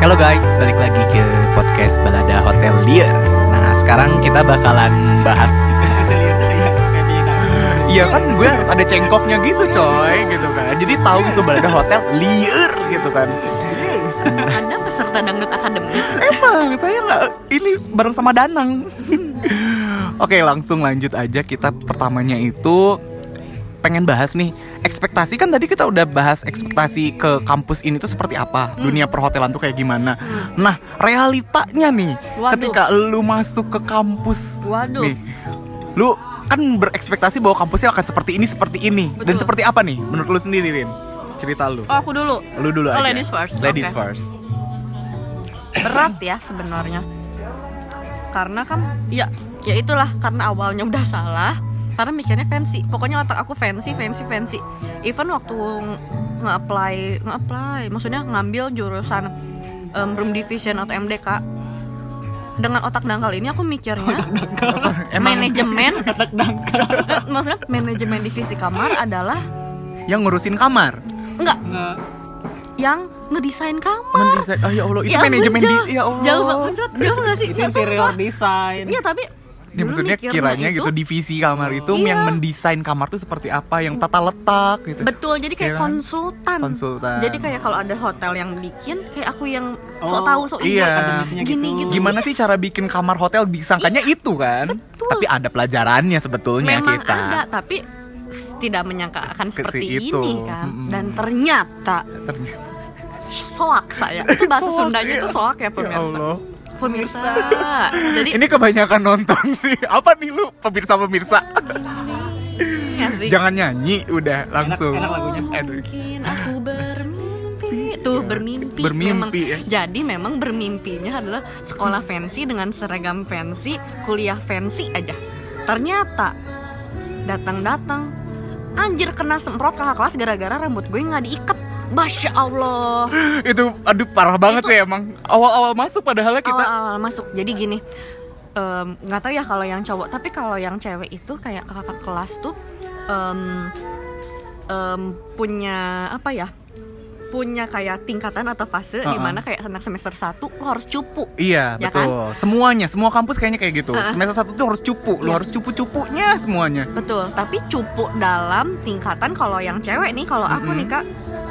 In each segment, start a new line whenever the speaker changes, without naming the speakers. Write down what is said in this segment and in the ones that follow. Halo guys, balik lagi ke podcast Balada Hotel Lier. Nah, sekarang kita bakalan bahas
gitu ya.
gitu
Iya kan gue harus ada cengkoknya gitu coy gitu kan Jadi tahu itu balada hotel liar gitu kan
Anda peserta dangdut akademi
Emang saya nggak ini bareng sama Danang Oke langsung lanjut aja kita pertamanya itu pengen bahas nih ekspektasi kan tadi kita udah bahas ekspektasi ke kampus ini tuh seperti apa
Hmm.
dunia perhotelan tuh kayak gimana nah realitanya nih
Waduh.
ketika lu masuk ke kampus
Waduh.
nih lu kan berekspektasi bahwa kampusnya akan seperti ini seperti ini dan
Betul.
seperti apa nih menurut lu sendiri Rin cerita lu
Oh aku dulu
lu dulu
Oh,
aja
ladies first,
ladies
oke.
first
Berat ya sebenarnya Karena kan Ya ya itulah karena awalnya udah salah Karena mikirnya fancy Pokoknya otak aku fancy, fancy, fancy Even waktu ng- nge-apply Nge-apply Maksudnya ngambil jurusan em, Room division atau MDK dengan otak dangkal ini aku mikirnya manajemen
gitu.
otak dangkal maksudnya manajemen divisi kamar adalah
yang ngurusin kamar
enggak yang ngedesain kamar
mendesain oh ya allah itu
Ya ampun,
manajemen di
jauh.
ya allah
Jauh banget mencret, jauh gak sih?
itu
Nggak,
interior
sumpah.
design
Iya tapi
Ya,
dulu
maksudnya
mikirnya
kiranya
itu-
gitu divisi kamar itu
Iya.
yang mendesain kamar tuh seperti apa yang tata letak gitu
Betul, jadi
Iya
kayak
kan?
konsultan.
Konsultan.
Jadi kayak kalau ada hotel yang bikin, kayak aku yang sok
Oh,
tahu sok
iya.
ingat.
Akademisinya
Gini
gitu.
gitu.
gimana sih cara bikin kamar hotel disangkanya itu kan
Iya. Betul.
tapi ada pelajarannya sebetulnya
Memang
kita
ada, tapi s- tidak menyangka akan
Ke si
seperti
itu.
ini kan.
Mm-mm.
Dan ternyata
Ternyata-
soak saya. Itu bahasa
Soak, iya.
Sundanya itu soak
Ya
ya pemirsa.
Allah.
pemirsa. Jadi
ini kebanyakan nonton nih apa nih lu pemirsa pemirsa
Iya, ya sih.
jangan nyanyi udah langsung
enak lagunya.
Aduh.
Oh, Mungkin aku bermimpi tuh bermimpi,
Bermimpi,
memang.
ya.
jadi memang bermimpinya adalah sekolah fancy dengan seragam fancy kuliah fancy aja ternyata datang-datang anjir kena semprot kakak kelas gara-gara rambut gue nggak diikat Masya Allah
itu aduh parah banget sih emang awal-awal masuk padahalnya kita
awal-awal masuk jadi gini em, nggak tahu ya kalau yang cowok tapi kalau yang cewek itu kayak kakak kelas tuh em, em, punya apa ya punya kayak tingkatan atau fase
Uh-uh.
di mana kayak anak semester 1 lo harus cupu
Iya
Ya
betul semuanya semua kampus kayaknya kayak gitu
Heeh.
semester satu tuh harus cupu lu
Iya.
harus cupu cupunya semuanya
betul tapi cupu dalam tingkatan kalau yang cewek nih kalau aku
Mm-mm.
nih kak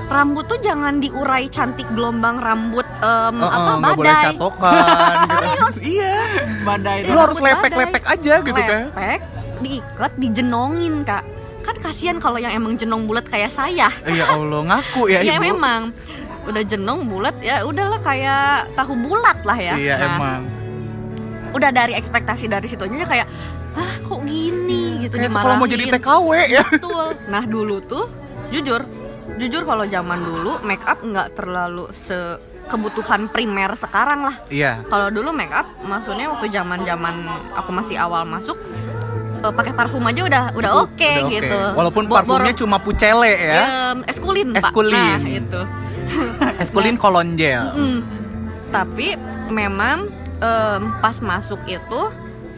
rambut tuh jangan diurai cantik gelombang rambut
Heeh,
em, Hmm, apa
nggak boleh
badai
catokan gitu. iya
badai
lu
Rambut
harus lepek lepek aja gitu kan
lepek diikat dijenongin kak kan kasihan kalau yang emang jenong bulat kayak saya
ya Allah ngaku ya,
ya
ibu
memang udah jenong bulat ya udahlah kayak tahu bulat lah ya
iya
Nah,
emang
udah dari ekspektasi dari situnya aja kayak ah kok gini gitu
Kayak
dimarahin
sekolah mau jadi TKW ya
betul nah dulu tuh jujur jujur kalau zaman dulu make up nggak terlalu se kebutuhan primer sekarang lah
iya
kalau dulu make up maksudnya waktu zaman zaman aku masih awal masuk eh, pakai parfum aja udah
Udah
udah oke gitu
walaupun
Bo-
parfumnya
borong-
cuma pucele ya
em, eskulin pak
Eskulin.
nah itu Iya. Nah.
eskulin kolon gel
Mm. tapi memang em, pas masuk itu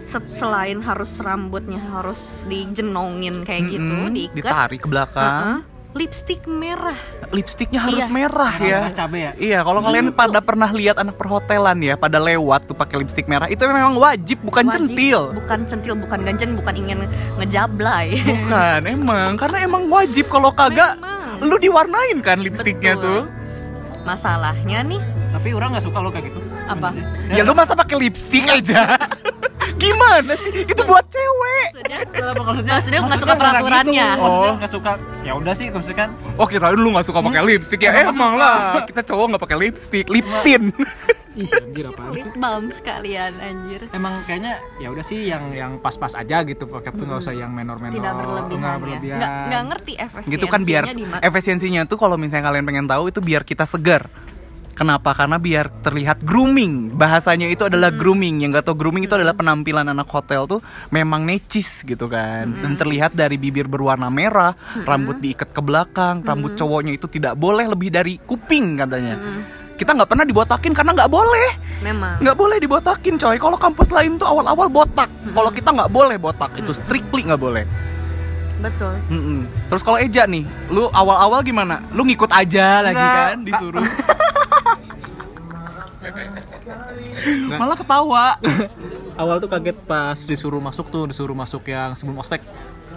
se- selain harus rambutnya harus dijenongin kayak gitu
Mm-mm,
diikat
ditarik ke belakang
heeh, lipstik merah
lipstiknya harus
Iya.
merah ya
cabe ya
Iya, kalau kalian
Gitu.
pada pernah lihat anak perhotelan ya, pada lewat tuh pakai lipstik merah, itu memang wajib, bukan
Wajib.
centil.
bukan centil bukan ganjen bukan ingin ngejablay
Bukan, kan, emang karena emang wajib kalau kagak
Memang.
lu diwarnain kan lipstiknya tuh.
Betul. masalahnya nih
tapi orang nggak suka lo kayak gitu
Apa?
sebenarnya.
Ya lu masa pakai lipstik aja? Gimana sih? Itu buat cewek.
maksudnya
Kenapa? maksudnya
Maksudnya nggak
maksudnya
suka
nggak
peraturannya.
gitu. Maksudnya
Oh.
nggak suka ya udah sih maksudnya kan
Oh, kirain lu gak suka pakai lipstik ya?
Emang nggak
Emang
suka.
lah, kita cowok gak pakai lipstik, lip tint.
ih anjir apaan
lip balm sekalian anjir
emang kayaknya ya udah sih yang yang pas-pas aja gitu pakai tuh nggak usah yang menor-menor
Hmm. tidak berlebihan,
nggak
ya
berlebihan
nggak, nggak ngerti efisiensinya
gitu kan biar
di ma-
efisiensinya tuh kalau misalnya kalian pengen tahu itu biar kita segar kenapa karena biar terlihat grooming bahasanya itu adalah
Hmm.
grooming yang gak tau grooming itu adalah penampilan anak hotel tuh memang necis gitu kan
Hmm.
dan terlihat dari bibir berwarna merah rambut diikat ke belakang rambut
Hmm.
cowoknya itu tidak boleh lebih dari kuping katanya kita nggak pernah dibotakin karena nggak boleh
memang
nggak boleh dibotakin coy kalau kampus lain tuh awal-awal botak
Hmm.
kalau kita nggak boleh botak itu strictly nggak boleh
betul
Mm-mm. Terus kalau Eja nih, kan, lu awal-awal gimana? Lu ngikut aja lagi
Nggak.
kan disuruh. Malah ketawa.
kan awal tuh kaget pas disuruh masuk tuh disuruh masuk yang sebelum ospek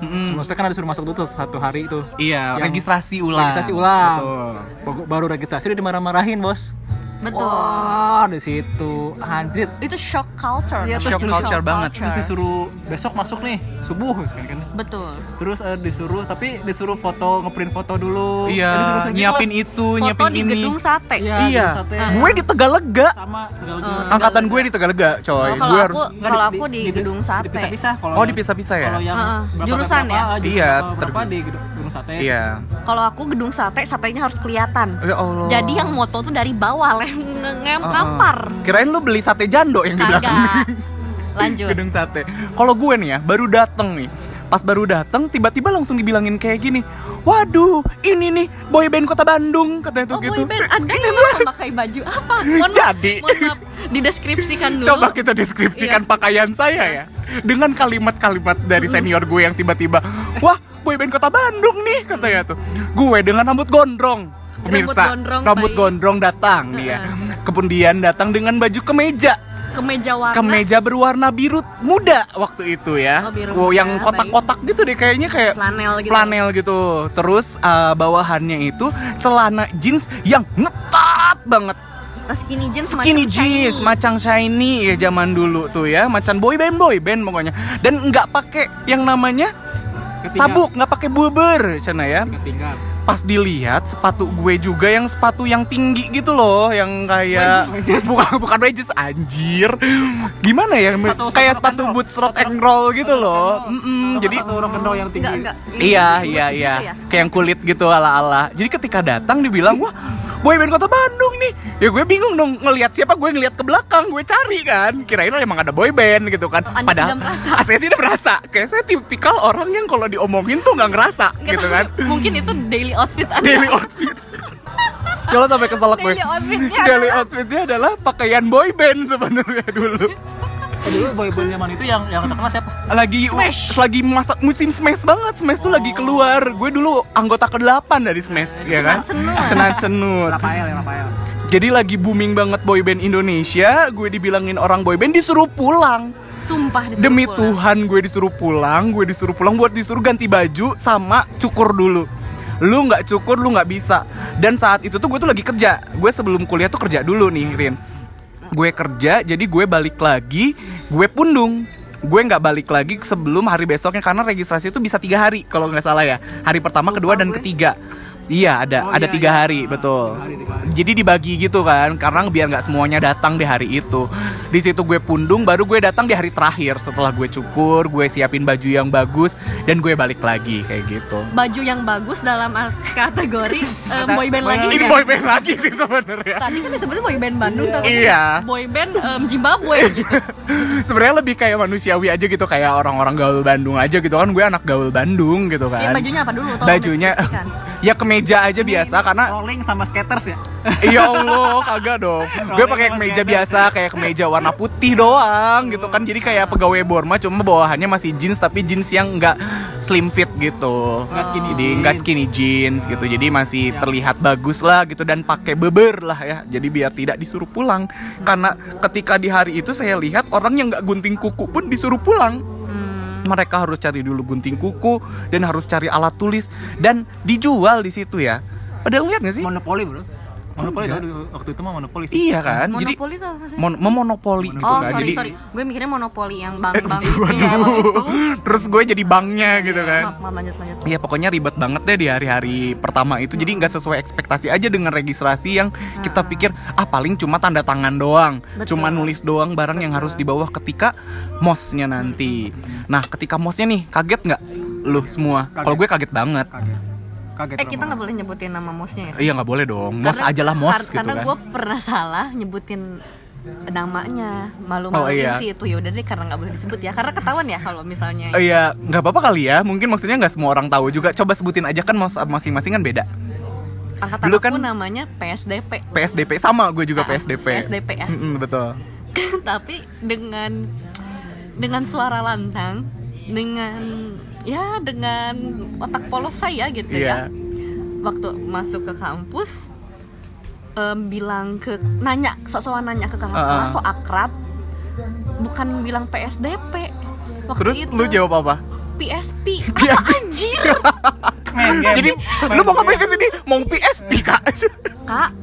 sebelum ospek kan ada disuruh masuk dulu tuh satu hari itu
Iya,
Yang-
registrasi ulang.
registrasi ulang
Betul.
Baru- baru registrasi udah dimarah-marahin bos
Betul.
wah di situ anjir
Itu shock culture.
Iya, terus
namanya.
shock culture banget.
terus disuruh besok masuk nih subuh misalkan kan
Betul.
terus eh, disuruh tapi disuruh foto ngeprint foto dulu
Iya,
Eh, disuruh segini.
nyiapin itu,
Foto
nyiapin
di
ini.
gedung sate.
Iya,
Iya.
di sate.
Gue di Tegalega.
sama tinggal
Eh,
dua.
Angkatan gue di Tegalega, coy.
Oh, kalau
gue
aku-
harus
Nggak,
Kalau aku di gedung sate.
dipisah-pisah kalau
Oh,
yang-
dipisah-pisah ya?
kalau yang
Heeh.
berapa-
Jurusan
berapa,
ya?
ah, jurusan
Iya,
berapa
tergedung.
di gedung, gedung sate
Iya.
Kalau aku gedung sate, satenya harus kelihatan.
Ya Allah.
Jadi yang moto tuh dari bawah, lem ngem
Heeh.
kampar.
Kirain lu beli sate jando yang di belakang.
Kagak. Lanjut.
gedung sate. Kalau gue nih ya, baru dateng nih. Pas baru dateng, tiba-tiba langsung dibilangin kayak gini. Waduh, ini nih boyband kota Bandung katanya tuh
Oh
gitu.
boyband, Anda memang memakai baju apa? Mohon maaf-
Jadi.
mohon maaf, dideskripsikan dulu.
Coba kita deskripsikan
Iya. Hmm.
pakaian saya ya dengan kalimat-kalimat dari senior gue yang tiba-tiba, wah boyband kota Bandung nih katanya tuh. Gue dengan rambut gondrong, pemirsa,
Rambut gondrong,
rambut
baik.
gondrong datang dia. Kemudian datang dengan baju kemeja,
kemeja warna.
kemeja berwarna biru muda waktu itu ya.
Oh, biru
Wow,
muda,
yang kotak-kotak gitu deh kayaknya kayak
Flanel gitu.
flanel gitu. Terus eh, bawahannya itu celana jeans yang ngetat banget
Nah, skinny jeans
skinny
macam shiny.
jeans macang shiny ya zaman dulu tuh ya macan boy band boy band pokoknya dan nggak pakai yang namanya
Ketinggal.
sabuk nggak pakai buber sana ya
ketinggal
pas dilihat sepatu gue juga yang sepatu yang tinggi gitu loh yang kayak bukan bukan wedges anjir gimana ya
Sepatu-
kayak
sepatu
sepatu
rock and roll.
boots rock and roll gitu loh Mm-mm,
Sama
jadi
satu rock and roll yang tinggi
Enggak, enggak.
Iya,
Gitu
iya,
ya?
iya. Kayak yang kulit gitu ala-ala. Jadi ketika datang dibilang, "Wah, boyband kota Bandung nih." Ya gue bingung dong ngelihat siapa, gue ngelihat ke belakang, gue cari kan. Kirain emang ada boyband gitu kan.
Oh, Anda
Padahal
tidak merasa.
Ah, saya tidak merasa. Kayak saya tipikal orang yang kalau diomongin tuh nggak ngerasa
Enggak
gitu
tahu,
kan.
Mungkin itu daily outfit Anda.
Daily outfit. Ya lo sampai keselak gue.
Daily outfitnya
Daily
adalah-
outfitnya adalah pakaian boyband sebenarnya dulu.
Eh, dulu boyband zaman itu yang yang terkenal siapa
lagi
Smash.
lagi masa musim smash banget smash tuh lagi keluar gue dulu anggota ke-8 dari smash ya kan
cenut-cenut.
cenat-cenut
Rafael ya Rafael
jadi lagi booming banget boyband Indonesia gue dibilangin orang boyband disuruh pulang
Sumpah disuruh
demi
pulang.
Tuhan gue disuruh pulang gue disuruh pulang buat disuruh ganti baju sama cukur dulu lu nggak cukur lu nggak bisa dan saat itu tuh gue tuh lagi kerja gue sebelum kuliah tuh kerja dulu nih Rin gue kerja jadi gue balik lagi gue pundung gue nggak balik lagi sebelum hari besoknya karena registrasi itu bisa tiga hari kalau nggak salah ya hari pertama kedua dan ketiga Iya ada
Oh,
ada
iya,
tiga
iya.
hari
Ah,
betul
tiga hari, tiga hari.
jadi dibagi gitu kan karena biar nggak semuanya datang di hari itu di situ gue pundung baru gue datang di hari terakhir setelah gue cukur gue siapin baju yang bagus dan gue balik lagi kayak gitu
Baju yang bagus dalam al- kategori eh, boyband lagi
ini
kan?
boyband lagi sih sebenarnya
Tadi kan disebutnya boyband Bandung tapi
Iya.
boyband em, Zimbabwe gitu.
sebenarnya lebih kayak manusiawi aja gitu kayak orang-orang gaul Bandung aja gitu kan gue anak gaul Bandung gitu
Ya,
kan
bajunya apa dulu? Tolong
bajunya
deskripsikan.
ya kemeja aja biasa karena
rolling sama skaters ya
Ya Allah, kagak dong. Gue pakai
Rolling
kemeja
sama
biasa, kayak kemeja warna putih doang gitu kan. Jadi kayak pegawai Borma cuma bawahannya masih jeans tapi jeans yang enggak slim fit gitu.
Nggak skinny
Jadi
jeans.
enggak skinny jeans gitu. Jadi masih terlihat bagus lah gitu dan pakai beber lah ya. Jadi biar tidak disuruh pulang. Karena ketika di hari itu saya lihat orang yang nggak gunting kuku pun disuruh pulang
Hmm.
mereka harus cari dulu gunting kuku dan harus cari alat tulis dan dijual di situ ya. Padahal lihat nggak sih?
monopoli bro monopoli dulu, waktu itu mah monopoli sih
Oh, Iya kan? Jadi
Monopoli tuh apa sih?
mon memonopoli gitu
oh,
kan.
sorry,
jadi eh,
sorry. Gue mikirnya monopoli yang bank-bank gitu
waduh.
ya.
Terus gue jadi banknya gitu kan.
Iya, Maaf, maaf, lanjut, lanjut.
Iya pokoknya ribet banget deh di hari-hari pertama itu Jadi nggak sesuai ekspektasi aja dengan registrasi yang kita pikir Ah paling cuma tanda tangan doang
Nah. Betul.
Cuma nulis doang barang yang harus dibawa ketika mosnya nanti Nah ketika mosnya nih kaget nggak lu semua?
Kaget.
Kalau gue kaget banget
kaget kaget
Eh
Romo.
kita nggak boleh nyebutin nama mosnya ya?
Iya nggak boleh dong, mos
Karena-
ajalah mos
kar-
gitu
Karena
kan
gue pernah salah nyebutin namanya malu-maluin
Oh, iya.
sih itu ya udah deh karena nggak boleh disebut ya karena ketahuan ya kalau misalnya
Oh iya, nggak apa-apa kali ya. Mungkin maksudnya nggak semua orang tahu juga. Coba sebutin aja kan mos- masing-masing kan beda.
angkatan
dulu
aku
kan-
namanya PSDP
PSDP sama gue juga
Ah,
PSDP.
PSDP ya.
Mm-mm, betul.
tapi dengan dengan suara lantang dengan ya dengan otak polos saya gitu
Iya.
ya waktu masuk ke kampus em, bilang ke nanya sok-sokan nanya ke kakak
Ah,
kelas
ah.
so akrab bukan bilang PSDP waktu
Terus
itu
lu jawab apa?
PSP,
PSP.
Apa Ah, anjir
Main game.
Jadi
Main
lu mau
game.
ngapain ke sini? Mau PSP kak?
kak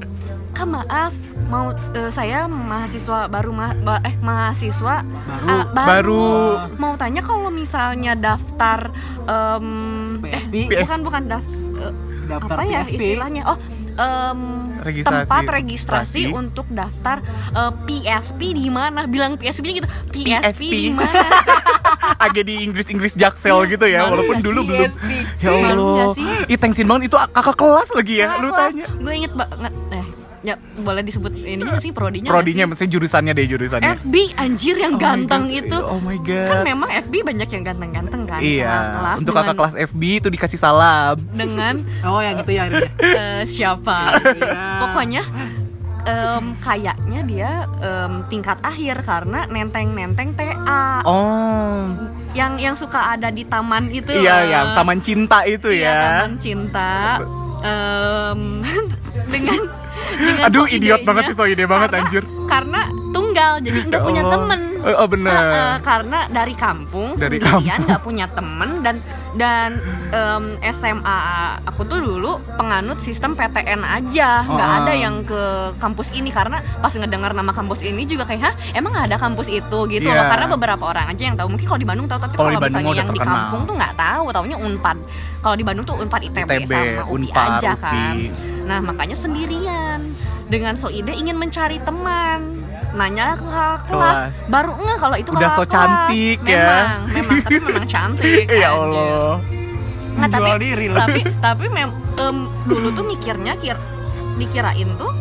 kak maaf mau eh, saya mahasiswa baru ma- ba- eh mahasiswa
Baru.
ah,
Baru.
mau tanya kalau misalnya daftar em, eh,
PSP.
bukan bukan daftar
Daftar
apa ya
PSP.
istilahnya oh em,
Registrasi.
tempat registrasi
Registrasi.
untuk daftar eh, PSP di mana bilang PSP -nya gitu PSP,
PSP.
di mana
Agak di Inggris-Inggris jaksel gitu ya,
Malu
walaupun
nggak
dulu
sih,
belum.
PSP?
Ya
Malu nggak
Allah,
sih? Iya
ih thanksin banget itu kakak kelas lagi ya, lu tanya.
gue inget banget eh ya boleh disebut ini juga sih prodinya nggak
Prodinya,
sih?
mesti jurusannya deh jurusannya.
FB anjir yang
Oh my
ganteng
God.
itu
Oh my
kan
god.
memang FB banyak yang ganteng-ganteng kan
Iya,
kakak kelas
untuk
dengan,
kakak kelas FB itu dikasih salam.
dengan
Oh yang itu ya akhirnya.
eh, siapa
Iya.
pokoknya em, kayaknya dia em, tingkat akhir karena nenteng-nenteng TA
Oh,
yang yang suka ada di taman itu
iya
loh.
yang taman cinta itu
gitu. Iya,
ya.
taman cinta Em, dengan dengan
Aduh,
so
idiot
idenya.
banget sih so ide banget
Karena-
anjir.
karena tunggal jadi nggak
Ya
punya
Allah.
temen
Eh, oh, bener.
Heeh, karena dari kampung
Dari
sendirian
kampung.
nggak punya temen dan dan em, SMA aku tuh dulu penganut sistem PTN aja nggak
Oh,
ada
ah.
yang ke kampus ini karena pas ngedengar nama kampus ini juga kayak hah emang nggak ada kampus itu gitu
Iya.
loh karena beberapa orang aja yang tahu mungkin kalau di Bandung tahu tapi
Kalau
kalau
di Bandung
misalnya
udah
yang di
terkenal.
kampung tuh nggak tahu taunya unpad kalau di Bandung tuh unpad ITB,
ITB,
sama UPI
Unpad,
aja kan
UPI.
Nah, makanya sendirian. Dengan Soide ingin mencari teman. Nanya ke kakak kelas.
Kelas.
Baru enggak kalau itu
Udah
kakak
so
kelas.
cantik ya.
Memang, memang tapi memang cantik.
Ya
anjir.
Allah.
Nah, tapi
Menjual diri lah.
tapi tapi mem em, dulu tuh mikirnya kir dikirain tuh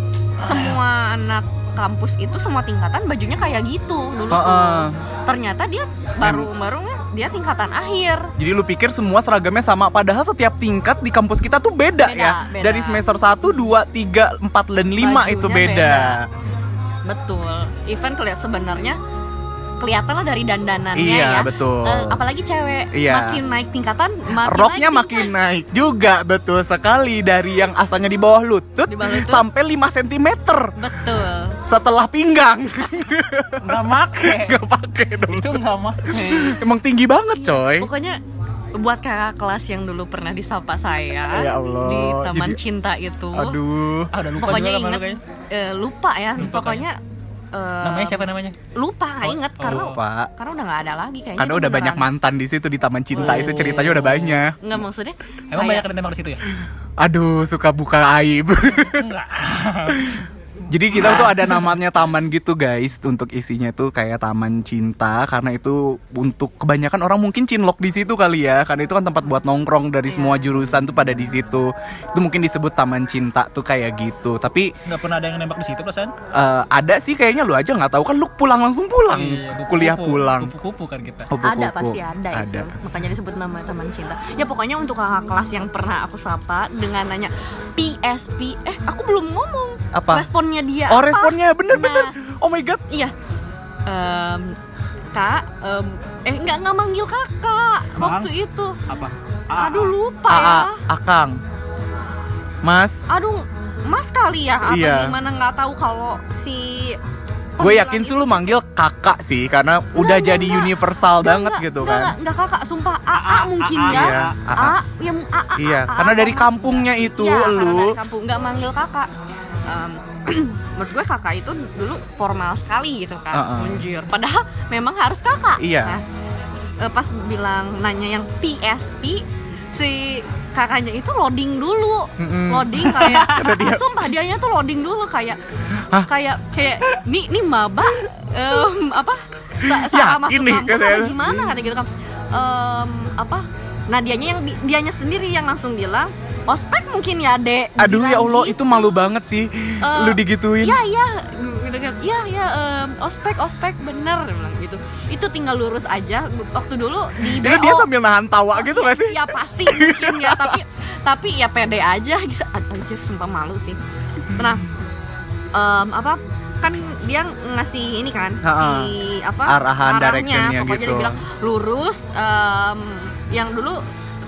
semua anak kampus itu semua tingkatan bajunya kayak gitu dulu tuh.
Heeh.
Ternyata dia baru baru dia tingkatan akhir.
Jadi lu pikir semua seragamnya sama padahal setiap tingkat di kampus kita tuh beda,
Beda,
ya.
beda.
Dari semester 1, 2, 3, 4 dan 5 itu
Bajunya
beda.
Betul. Even kelihatan sebenarnya kelihatan lah dari dandanannya
Iya,
ya.
betul.
Eh, apalagi cewek
Iya.
makin naik tingkatan makin
Roknya
naik
makin naik juga betul sekali dari yang asalnya di bawah lutut,
Di bawah lutut.
sampai 5 cm
tingkat. Betul.
setelah pinggang.
Nggak make.
Gak pakai dong.
Itu nggak make.
Emang tinggi banget, coy.
Pokoknya buat kakak kelas yang dulu pernah disapa saya
Ya Allah,
di Taman
jadi-
Cinta itu.
Aduh.
Ah udah lupa
pokoknya
juga sama
inget
lu kayaknya.
eh, lupa ya.
Lupa kan?
pokoknya eh,
Namanya siapa namanya?
Lupa nggak
Oh,
inget
oh,
karena
lupa.
karena udah nggak ada lagi kayaknya.
Karena
dia
udah banyak
beneran. Oh.
mantan di situ di Taman Cinta itu ceritanya udah banyak.
Nggak maksudnya.
Emang
kayak-
banyak yang nembak di situ ya?
Aduh, suka buka aib.
Enggak.
Jadi kita tuh ada namanya taman gitu guys Untuk isinya tuh kayak taman cinta Karena itu untuk kebanyakan orang mungkin cinlok di situ kali ya Karena itu kan tempat buat nongkrong
Iya.
dari semua jurusan tuh pada di situ Itu mungkin disebut taman cinta tuh kayak gitu Tapi
Enggak pernah ada yang nembak di situ perasaan?
eh, ada sih kayaknya lu aja nggak tahu kan lu pulang langsung pulang
Iya,
Kuliah pulang
Kupu-kupu kan kita.
ada
Kupu-kupu.
pasti ada,
Ada
itu makanya disebut nama teman cinta ya pokoknya untuk kakak kelas yang pernah aku sapa dengan nanya PSP eh aku belum ngomong
Apa?
responnya dia
Oh
apa?
responnya bener-bener
Nah,
Oh my god
iya Em, kak em, eh nggak nggak manggil kakak
Bang?
waktu itu
Apa?
aduh lupa ya
Aa, Akang Mas
aduh mas kali ya apa
Iya.
gimana nggak tahu kalau si
Gue yakin sih lu manggil kakak sih Karena udah
enggak,
jadi
enggak.
universal
Enggak,
banget
enggak,
gitu
enggak,
kan
enggak, enggak, kakak sumpah AA mungkin
AA,
ya
iya, AA.
A ya A, A,
Iya,
A,
karena
A,
dari
kalau
kampungnya
enggak.
itu,
Iya, karena
gitu, lu.
dari kampung nggak manggil kakak Em, menurut gue kakak itu dulu formal sekali gitu kan
Heeh.
anjir padahal memang harus kakak
Iya.
Nah, eh, pas bilang nanya yang PSP si kakaknya itu loading dulu
Mm-mm.
loading kayak
Udah dia-
sumpah dianya tuh loading dulu kayak kayak kayak nih nih maba em, apa sa- salah masuk
Yakin nih,
kampus
Ya, katanya.
apa gimana kata gitu kan Em, apa nah dianya yang di- dianya sendiri yang langsung bilang ospek mungkin ya dek
Aduh
Bilang
ya Allah itu
gitu.
malu banget sih lu digituin.
Iya iya gitu kan. Iya iya em, ospek ospek bener dia bilang gitu. Itu tinggal lurus aja waktu dulu di
Itu
BO.
Ya kan dia sambil nahan tawa gitu
ya,
gak sih?
Ya pasti mungkin ya tapi tapi ya pede aja gitu. Ad- Anjir sumpah malu sih. Nah em, apa kan dia ngasih ini kan
Ha-ha.
si apa
Arahan,
arahnya.
directionnya
Pokoknya dia
gitu.
bilang lurus em, yang dulu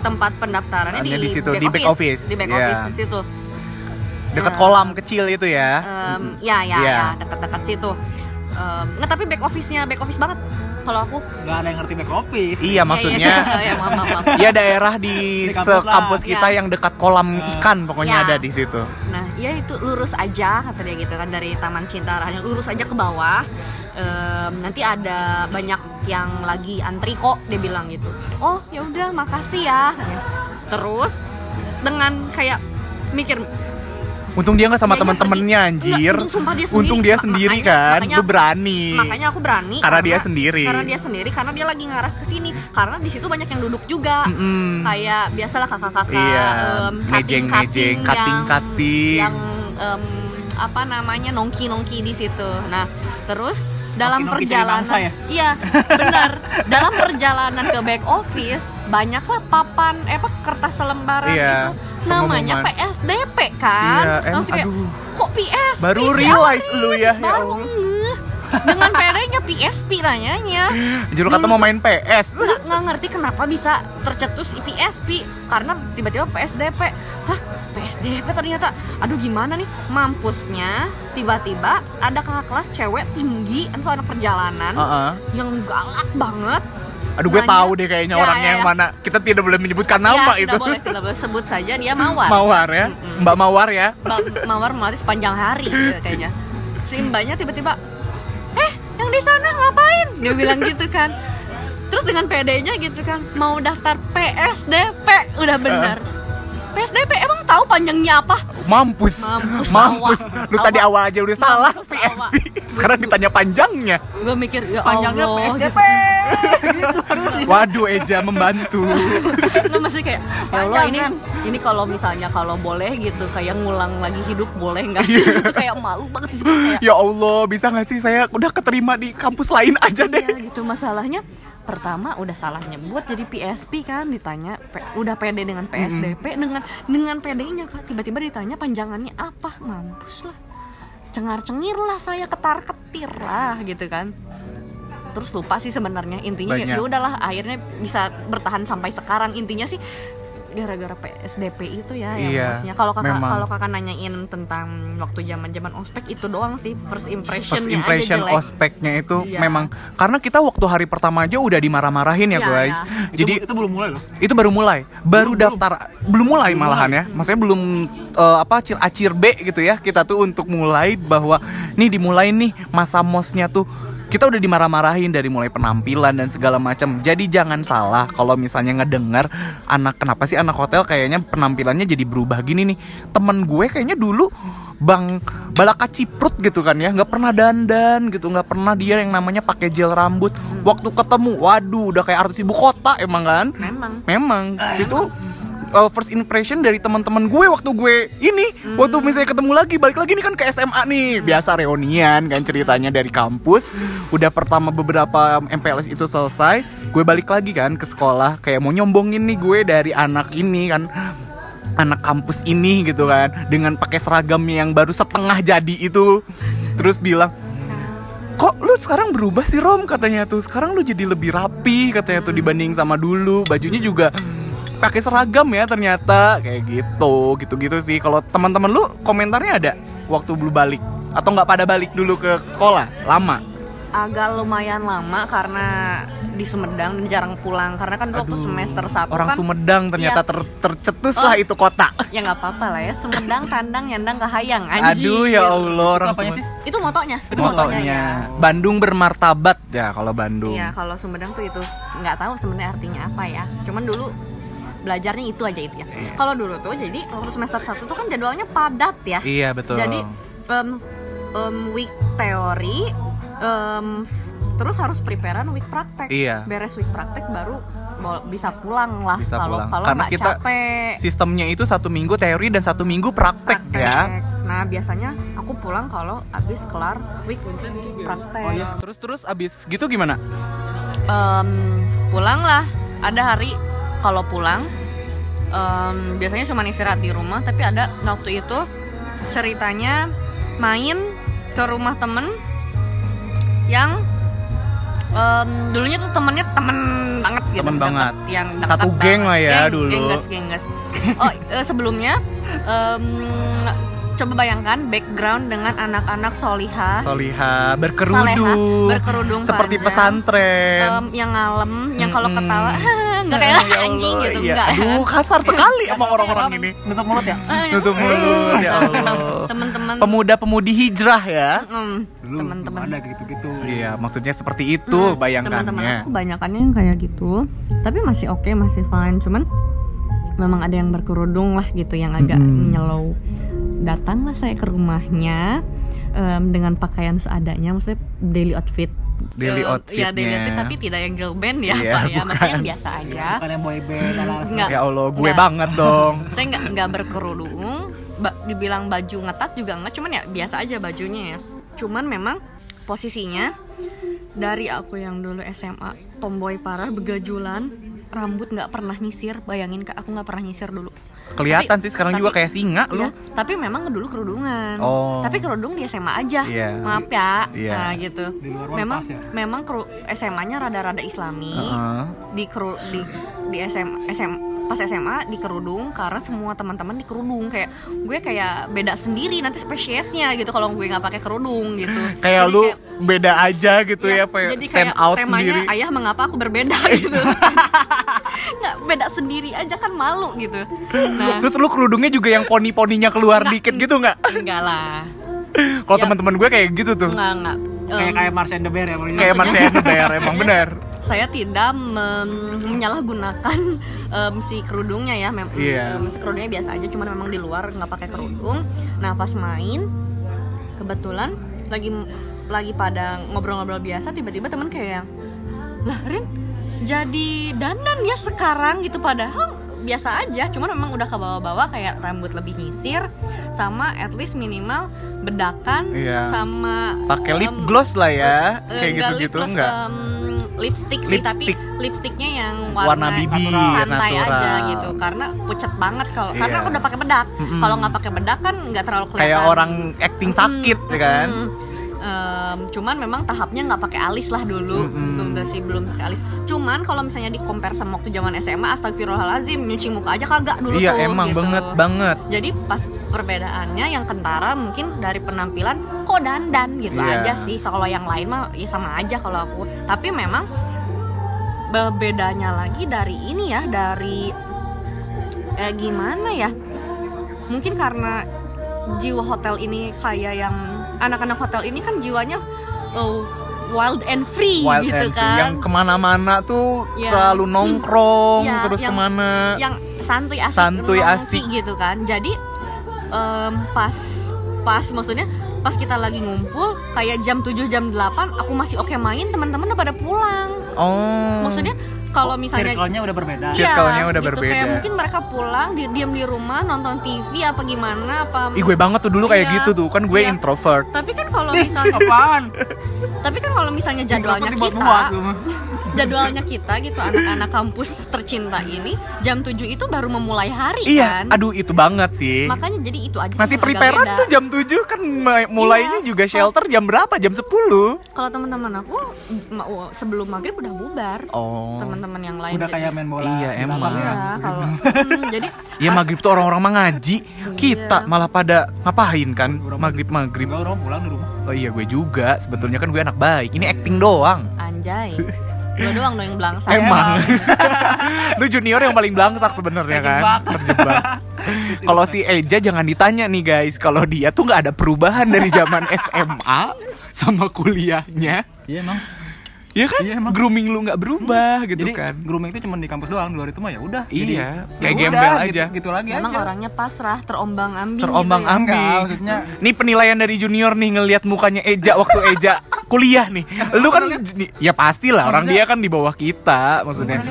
tempat pendaftarannya
Hanya
di,
di situ,
back
di back office,
di back
ya.
office di situ
Dekat kolam kecil itu ya.
Em, ya ya
Iya.
ya dekat-dekat situ Em, nggak tapi back office-nya back office banget kalau aku
nggak ada yang ngerti back office
Iya
Iya, iya,
maksudnya
iya, maaf, maaf, maaf.
ya daerah di
Di kampus lah.
sekampus kita
Iya.
yang dekat kolam ikan
Iya.
pokoknya ada di situ.
Nah, ya itu lurus aja kata dia gitu kan dari Taman Cinta arahnya lurus aja ke bawah. Em, nanti ada banyak yang lagi antri kok dia bilang gitu. Oh, ya udah makasih ya. Terus dengan kayak mikir
Untung dia nggak sama
Kayaknya
teman-temannya
pergi.
anjir.
Enggak, untung sumpah dia sendiri.
Untung dia
Ma-
sendiri
makanya-
kan.
makanya
Lu
aku-
berani.
makanya aku berani
Karena dia sendiri.
Karena dia sendiri karena dia lagi ngarah ke sini. Karena di situ banyak yang duduk juga.
Mm-mm.
Kayak biasalah kakak-kakak
Iya,
em, cutting-cutting
mejeng-mejeng,
yang-
cutting-cutting.
yang em, apa namanya nongki-nongki di situ. Nah, terus
Nongki-nongki
dalam
jadi
perjalanan
mangsa ya?
iya benar dalam perjalanan ke back office banyaklah papan eh apa kertas selembaran
Iya,
itu namanya
pengumuman.
PSDP kan
Iya, em,
Langsung kayak,
aduh.
kok PS
Baru
PSDP?
realize lu ya, ya
baru
Allah.
ngeh. dengan PD-nya PSP nanyanya
Juru kata mau main PS.
nggak nggak ngerti kenapa bisa tercetus IPSP karena tiba-tiba PSDP hah PSDP ternyata aduh gimana nih mampusnya tiba-tiba ada kakak kelas cewek tinggi itu anak perjalanan
Heeh.
yang galak banget
Aduh gue
Nah, Nanya.
tahu deh kayaknya
Ya,
orangnya
ya,
yang
ya.
mana. Kita tidak boleh menyebutkan nama
ya,
itu.
tidak boleh tidak boleh sebut saja dia mawar
Mawar ya. Mbak Mawar ya.
Mbak Mawar melatih sepanjang hari gitu kayaknya si mbaknya tiba-tiba eh yang di sana ngapain dia bilang gitu kan terus dengan PD-nya gitu kan mau daftar PSDP udah bener PSDP emang tahu panjangnya apa
Mampus.
Mampus,
Mampus.
awak.
Lu tadi
Awak.
awal aja udah
Mampus,
salah
awak.
PSP. Sekarang ditanya panjangnya.
gue mikir ya
panjangnya
Allah
PSDP
Waduh Eja membantu.
nggak masih kayak ya Allah
Panjang,
ini
kan?
ini kalau misalnya kalau boleh gitu kayak ngulang lagi hidup boleh nggak sih itu kayak malu banget sih kayak
Ya Allah, bisa gak sih saya udah keterima di kampus lain aja deh.
Iya gitu masalahnya pertama udah salah nyebut jadi PSP kan ditanya P- udah PD dengan PSDP dengan dengan PD-nya kan tiba-tiba ditanya panjangannya apa mampus lah cengar cengir lah saya ketar ketir lah gitu kan terus lupa sih sebenarnya intinya ya-
Banyak.
ya udahlah akhirnya bisa bertahan sampai sekarang intinya sih gara-gara PSDP itu ya yang
Iya,
maksudnya kalau kakak
memang.
kalau kakak nanyain tentang waktu zaman zaman ospek itu doang sih first impression
First impression
aja jelek.
ospeknya itu
Iya.
memang karena kita waktu hari pertama aja udah dimarah-marahin ya
Iya,
guys.
iya.
Jadi
itu, itu belum mulai loh
itu baru mulai, baru
Belum,
daftar, belum mulai malahan ya. Maksudnya belum eh, apa acir acir B gitu ya. Kita tuh untuk mulai bahwa nih dimulai nih masa mosnya tuh kita udah dimarah-marahin dari mulai penampilan dan segala macam. Jadi jangan salah kalau misalnya ngedengar anak kenapa sih anak hotel kayaknya penampilannya jadi berubah gini nih. Temen gue kayaknya dulu Bang Balaka Ciprut gitu kan ya nggak pernah dandan gitu nggak pernah dia yang namanya pakai gel rambut waktu ketemu waduh udah kayak artis ibu kota emang kan
memang
Memang itu uh, first impression dari teman-teman gue waktu gue ini waktu misalnya ketemu lagi balik lagi ini kan ke SMA nih biasa reunian kan ceritanya dari kampus udah pertama beberapa MPLS itu selesai gue balik lagi kan ke sekolah kayak mau nyombongin nih gue dari anak ini kan anak kampus ini gitu kan dengan pakai seragam yang baru setengah jadi itu terus bilang kok lu sekarang berubah sih Rom katanya tuh sekarang lu jadi lebih rapi katanya tuh dibanding sama dulu bajunya juga pakai seragam ya ternyata kayak gitu gitu gitu sih kalau teman-teman lu komentarnya ada waktu belum balik atau nggak pada balik dulu ke sekolah lama
agak lumayan lama karena di Sumedang dan jarang pulang karena kan dulu waktu
Aduh,
semester 1
orang
kan
Sumedang ternyata
Iya.
ter- tercetus
Oh.
lah itu kota
ya nggak apa-apa lah ya Sumedang kandang nyandang kahayang anjing
aduh ya Allah orang
apanya sih?
Sumedang
itu motonya
itu motonya Bandung bermartabat ya kalau Bandung
Iya, kalau Sumedang tuh itu nggak tahu sebenarnya artinya apa ya. Cuman dulu belajarnya itu aja itu ya.
Iya.
Kalau dulu tuh jadi waktu semester 1 tuh kan jadwalnya padat ya.
Iya, betul
Jadi em, em, week teori em, s- terus harus preparean week praktek.
Iya.
Beres week praktek baru mau- bisa pulang lah
Bisa
Ah, kalau
pulang.
kalau
Karena
nggak
kita
capek.
sistemnya itu satu minggu teori dan satu minggu praktek, ya
Nah, biasanya aku pulang kalau habis kelar week praktek.
Oh, iya.
Terus terus abis gitu gimana?
Em, pulang lah ada hari kalau pulang em, biasanya cuma istirahat di rumah tapi ada waktu itu ceritanya main ke rumah temen yang em, dulunya tuh temennya temen banget gitu
Temen
deket,
banget.
yang deket
Satu geng lah ya
Geng,
dulu.
genggas genggas oh eh, sebelumnya em, coba bayangkan background dengan anak-anak soliha
Soliha berkerudung,
berkerudung
seperti
panjang.
pesantren.
em, yang ngalem yang kalau
Mm-mm.
ketawa nggak kayak
Ya
anjing
Allah,
gitu
iya.
enggak
Aduh, kasar sekali sama orang-orang ini.
Nutup mulut ya?
Tutup mulut, ya Allah.
teman-teman
Pemuda-pemudi hijrah ya.
mm, teman-teman
Ada gitu-gitu.
Iya, maksudnya seperti itu
teman-teman
bayangkannya.
aku banyakannya yang kayak gitu tapi masih oke masih fine cuman memang ada yang berkerudung lah gitu yang agak
Mm-mm.
menyelau datanglah saya ke rumahnya em, dengan pakaian seadanya maksudnya daily outfit
Daily
Eh, iya, daily outfit
outfitnya.
tapi tidak yang girl band ya
Iya,
Pak ya maksudnya yang
bukan.
biasa aja
Bukan yang boy band, ala-ala
Enggak.
Ya Allah, gue
Nggak.
banget dong.
saya nggak nggak berkerudung ba- dibilang baju ngetat juga nggak cuman ya biasa aja bajunya ya cuman memang posisinya dari aku yang dulu SMA tomboy parah begajulan rambut nggak pernah nyisir bayangin kak aku nggak pernah nyisir dulu
Kelihatan
Tapi-
sih sekarang
tapi-
juga kayak singa lu.
Ya, tapi memang dulu kerudungan
Iya. Oh.
tapi kerudung di SMA aja
Iya.
maaf ya
Iya.
nah gitu
Di luar ruang
memang
pas ya?
memang SMA-nya rada-rada Islami
Heeh.
di keru di di SM, SM pas SMA di kerudung karena semua teman-teman di kerudung kayak gue kayak beda sendiri nanti spesiesnya gitu kalau gue nggak pakai kerudung gitu
Kayak
Jadi
lu beda aja gitu ya,
kayak-
kayak
jadi
stand
kayak
out
temanya
sendiri.
ayah mengapa aku berbeda gitu nggak beda sendiri aja kan malu gitu nah
Terus lu kerudungnya juga yang poni-poninya keluar
Nggak.
dikit gitu nggak?
enggak lah
Kalau
Ya.
teman-teman gue kayak gitu tuh.
enggak enggak Em,
Kayak kayak Mars and the Bear ya, Bang.
Kayak Marciana Bear emang bener.
Iya. saya tidak men- menyalahgunakan em, si kerudungnya ya mem-
Iya.
em, si kerudungnya biasa aja cuman memang di luar nggak pakai kerudung nah pas main kebetulan lagi lagi pada ngobrol-ngobrol biasa tiba-tiba teman kayak lah Rin jadi dandan ya sekarang gitu padahal biasa aja cuman memang udah ke bawah-bawah kayak rambut lebih nyisir sama at least minimal bedakan
Iya.
sama
Pakai lip
em,
gloss lah ya, kayak
Eh, enggak
gitu-gitu
lip gloss,
enggak.
em, lipstick sih tapi
Lipstick.
lipstiknya yang warna,
Warna bibi,
santai
natural.
aja gitu karena pucet banget kalau karena
Iya.
aku udah pakai bedak
Mm-mm.
kalau nggak pakai bedak kan nggak terlalu kelihatan
Kayak orang acting sakit ya kan.
Mm. Em, cuman memang tahapnya nggak pakai alis lah dulu
Mm-mm.
belum belum sih belum pakai alis cuman kalau misalnya di compare sama waktu zaman SMA astagfirullahalazim nyuci muka aja kagak dulu
Iya
tuh
emang
gitu.
banget banget.
jadi pas perbedaannya yang kentara mungkin dari penampilan kok dandan gitu
Iya.
aja sih kalau yang lain mah ya sama aja kalau aku tapi memang be- bedanya lagi dari ini ya dari eh, gimana ya mungkin karena jiwa hotel ini kayak yang anak-anak hotel ini kan jiwanya oh, wild and free
Wild
gitu
and free.
kan
yang kemana-mana tuh
Iya.
selalu nongkrong
Iya,
terus
yang-
kemana.
yang santuy asik
Santuy,
nongki
asik.
gitu kan jadi em, pas pas maksudnya pas kita lagi ngumpul kayak jam 7 jam 8 aku masih oke main teman-teman udah pada pulang
Oh.
maksudnya kalau misalnya
Circle-nya udah berbeda.
Circle-nya udah
gitu,
berbeda.
kayak mungkin mereka pulang di- diam di rumah nonton TV apa gimana apa
Ih gue banget tuh dulu kayak
Iya.
gitu tuh kan gue
Iya.
introvert.
tapi kan kalau misalnya
Apaan?
tapi kan kalau misalnya jadwalnya
Mikrofonnya
kita
buat-buat, lu.
jadwalnya kita gitu anak-anak kampus tercinta ini jam 7 itu baru memulai hari
Iya,
kan
aduh itu banget sih.
makanya jadi itu aja sih
Masih
yang agak
preparean
beda.
tuh jam 7 kan ma- mulainya
Iya.
juga shelter jam berapa? Jam 10.
kalau teman-teman aku ma- wa- sebelum maghrib udah bubar
Oh.
teman-teman yang lain
Udah
jadi-
kayak main bola.
Iya,
di
emang.
lapangan. ya.
Iya, kalau Hmm, jadi
Ya
pas-
maghrib tuh orang-orang mah
Oh,
ngaji. Kita
Iya.
malah pada ngapain kan maghrib-maghrib.
Enggak, orang pulang di rumah.
Oh iya gue juga, sebetulnya kan gue anak baik. Ini acting doang.
anjay dua doang dong yang belangsa
Emang. Lu junior yang paling belangsak sebenarnya kan. Terjebak. Kalau si Eja jangan ditanya nih guys, kalau dia tuh nggak ada perubahan dari zaman SMA sama kuliahnya.
Iya emang.
Iya kan?
Iya, emang. Hmm.
Grooming lu nggak berubah gitu
Jadi
kan.
grooming itu cuma di kampus doang, di luar itu mah ya udah.
Iya,
Jadi,
kayak
ya udah,
gembel
gitu-
aja.
Gitu, lagi
emang
aja.
orangnya pasrah terombang ambing
Terombang
gitu ya.
ambing.
Enggak, maksudnya-
Nih penilaian dari junior nih ngelihat mukanya Eja waktu Eja kuliah nih. Lu kan j- ya pastilah orang dia kan di bawah kita maksudnya.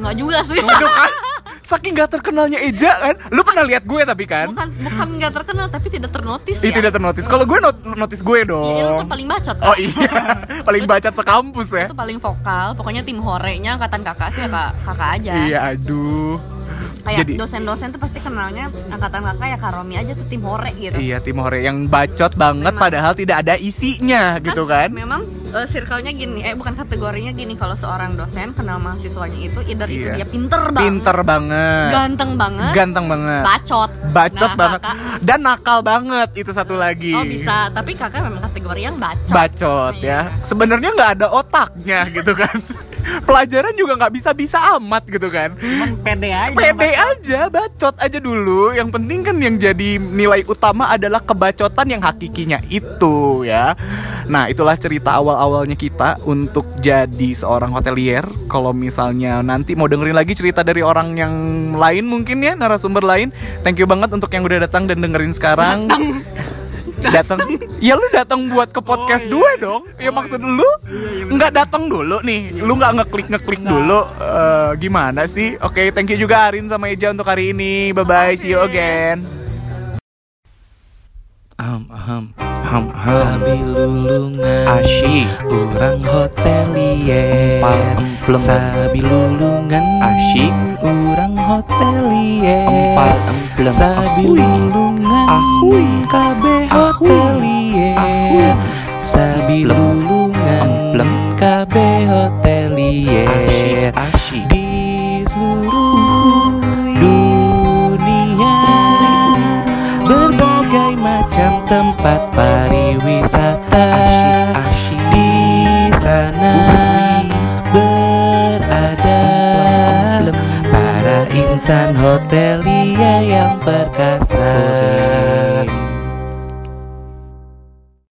nggak juga sih
Tuh kan. Saking gak terkenalnya Eja kan. Lu pernah lihat gue tapi kan.
bukan bukan nggak terkenal tapi tidak ternotis
Itu
ya
tidak ternotis. Kalau gue not notis gue
Iya, lu tuh
dong.
paling bacot
Oh iya, paling bacat sekampus ya.
itu paling vokal pokoknya tim horenya angkatan kakak sih ya kak kakak aja
Iya, aduh.
kayak
Jadi-
dosen-dosen tuh pasti kenalnya angkatan kakak ya Karomi aja tuh tim hore gitu
Iya Timore yang bacot banget
Memang.
padahal tidak ada isinya gitu kan.
memang eh, circle-nya gini eh bukan kategorinya gini kalau seorang dosen kenal mahasiswanya itu either itu
Iya.
dia pinter banget
Pinter banget.
ganteng banget
Ganteng banget.
bacot
Bacot
Nah,
banget
kakak-
dan nakal banget itu satu lagi.
oh bisa tapi kakak memang kategori yang bacot
Bacot ya.
Iya.
Sebenarnya nggak ada otaknya gitu kan. Pelajaran juga nggak bisa-bisa amat gitu kan.
Cuman pede aja.
Iya,
Pede aja, bacot aja dulu. Yang penting kan yang jadi nilai utama adalah kebacotan yang hakikinya itu ya. Nah, itulah cerita awal-awalnya kita untuk jadi seorang hotelier. Kalau misalnya nanti mau dengerin lagi cerita dari orang yang lain mungkin ya, narasumber lain. Thank you banget untuk yang udah datang dan dengerin sekarang. Datang. Ya lu datang buat ke podcast
iya.
dua dong. Ya maksud lu nggak datang dulu nih. Lu nggak ngeklik-ngeklik
Nah.
dulu. Eh, gimana sih? Oke, thank you juga Arin sama Eja untuk hari ini. Bye bye, see you again.
Aham, aham, aham, aham. Sabi lulungan
Asyik
Orang hotelier
Empal, emplem.
Sabi lulungan
Asyik.
Orang hotelier
Empal, emplem.
Sabi
Ahui.
lulungan
Ahui.
KB hotelier
Ahui.
Sabi
Emplem.
lulungan
Emplem.
KB hotelier
asyik.
di seluruh dunia berbagai macam tempat pariwisata di sana berada para insan hotelia yang perkasa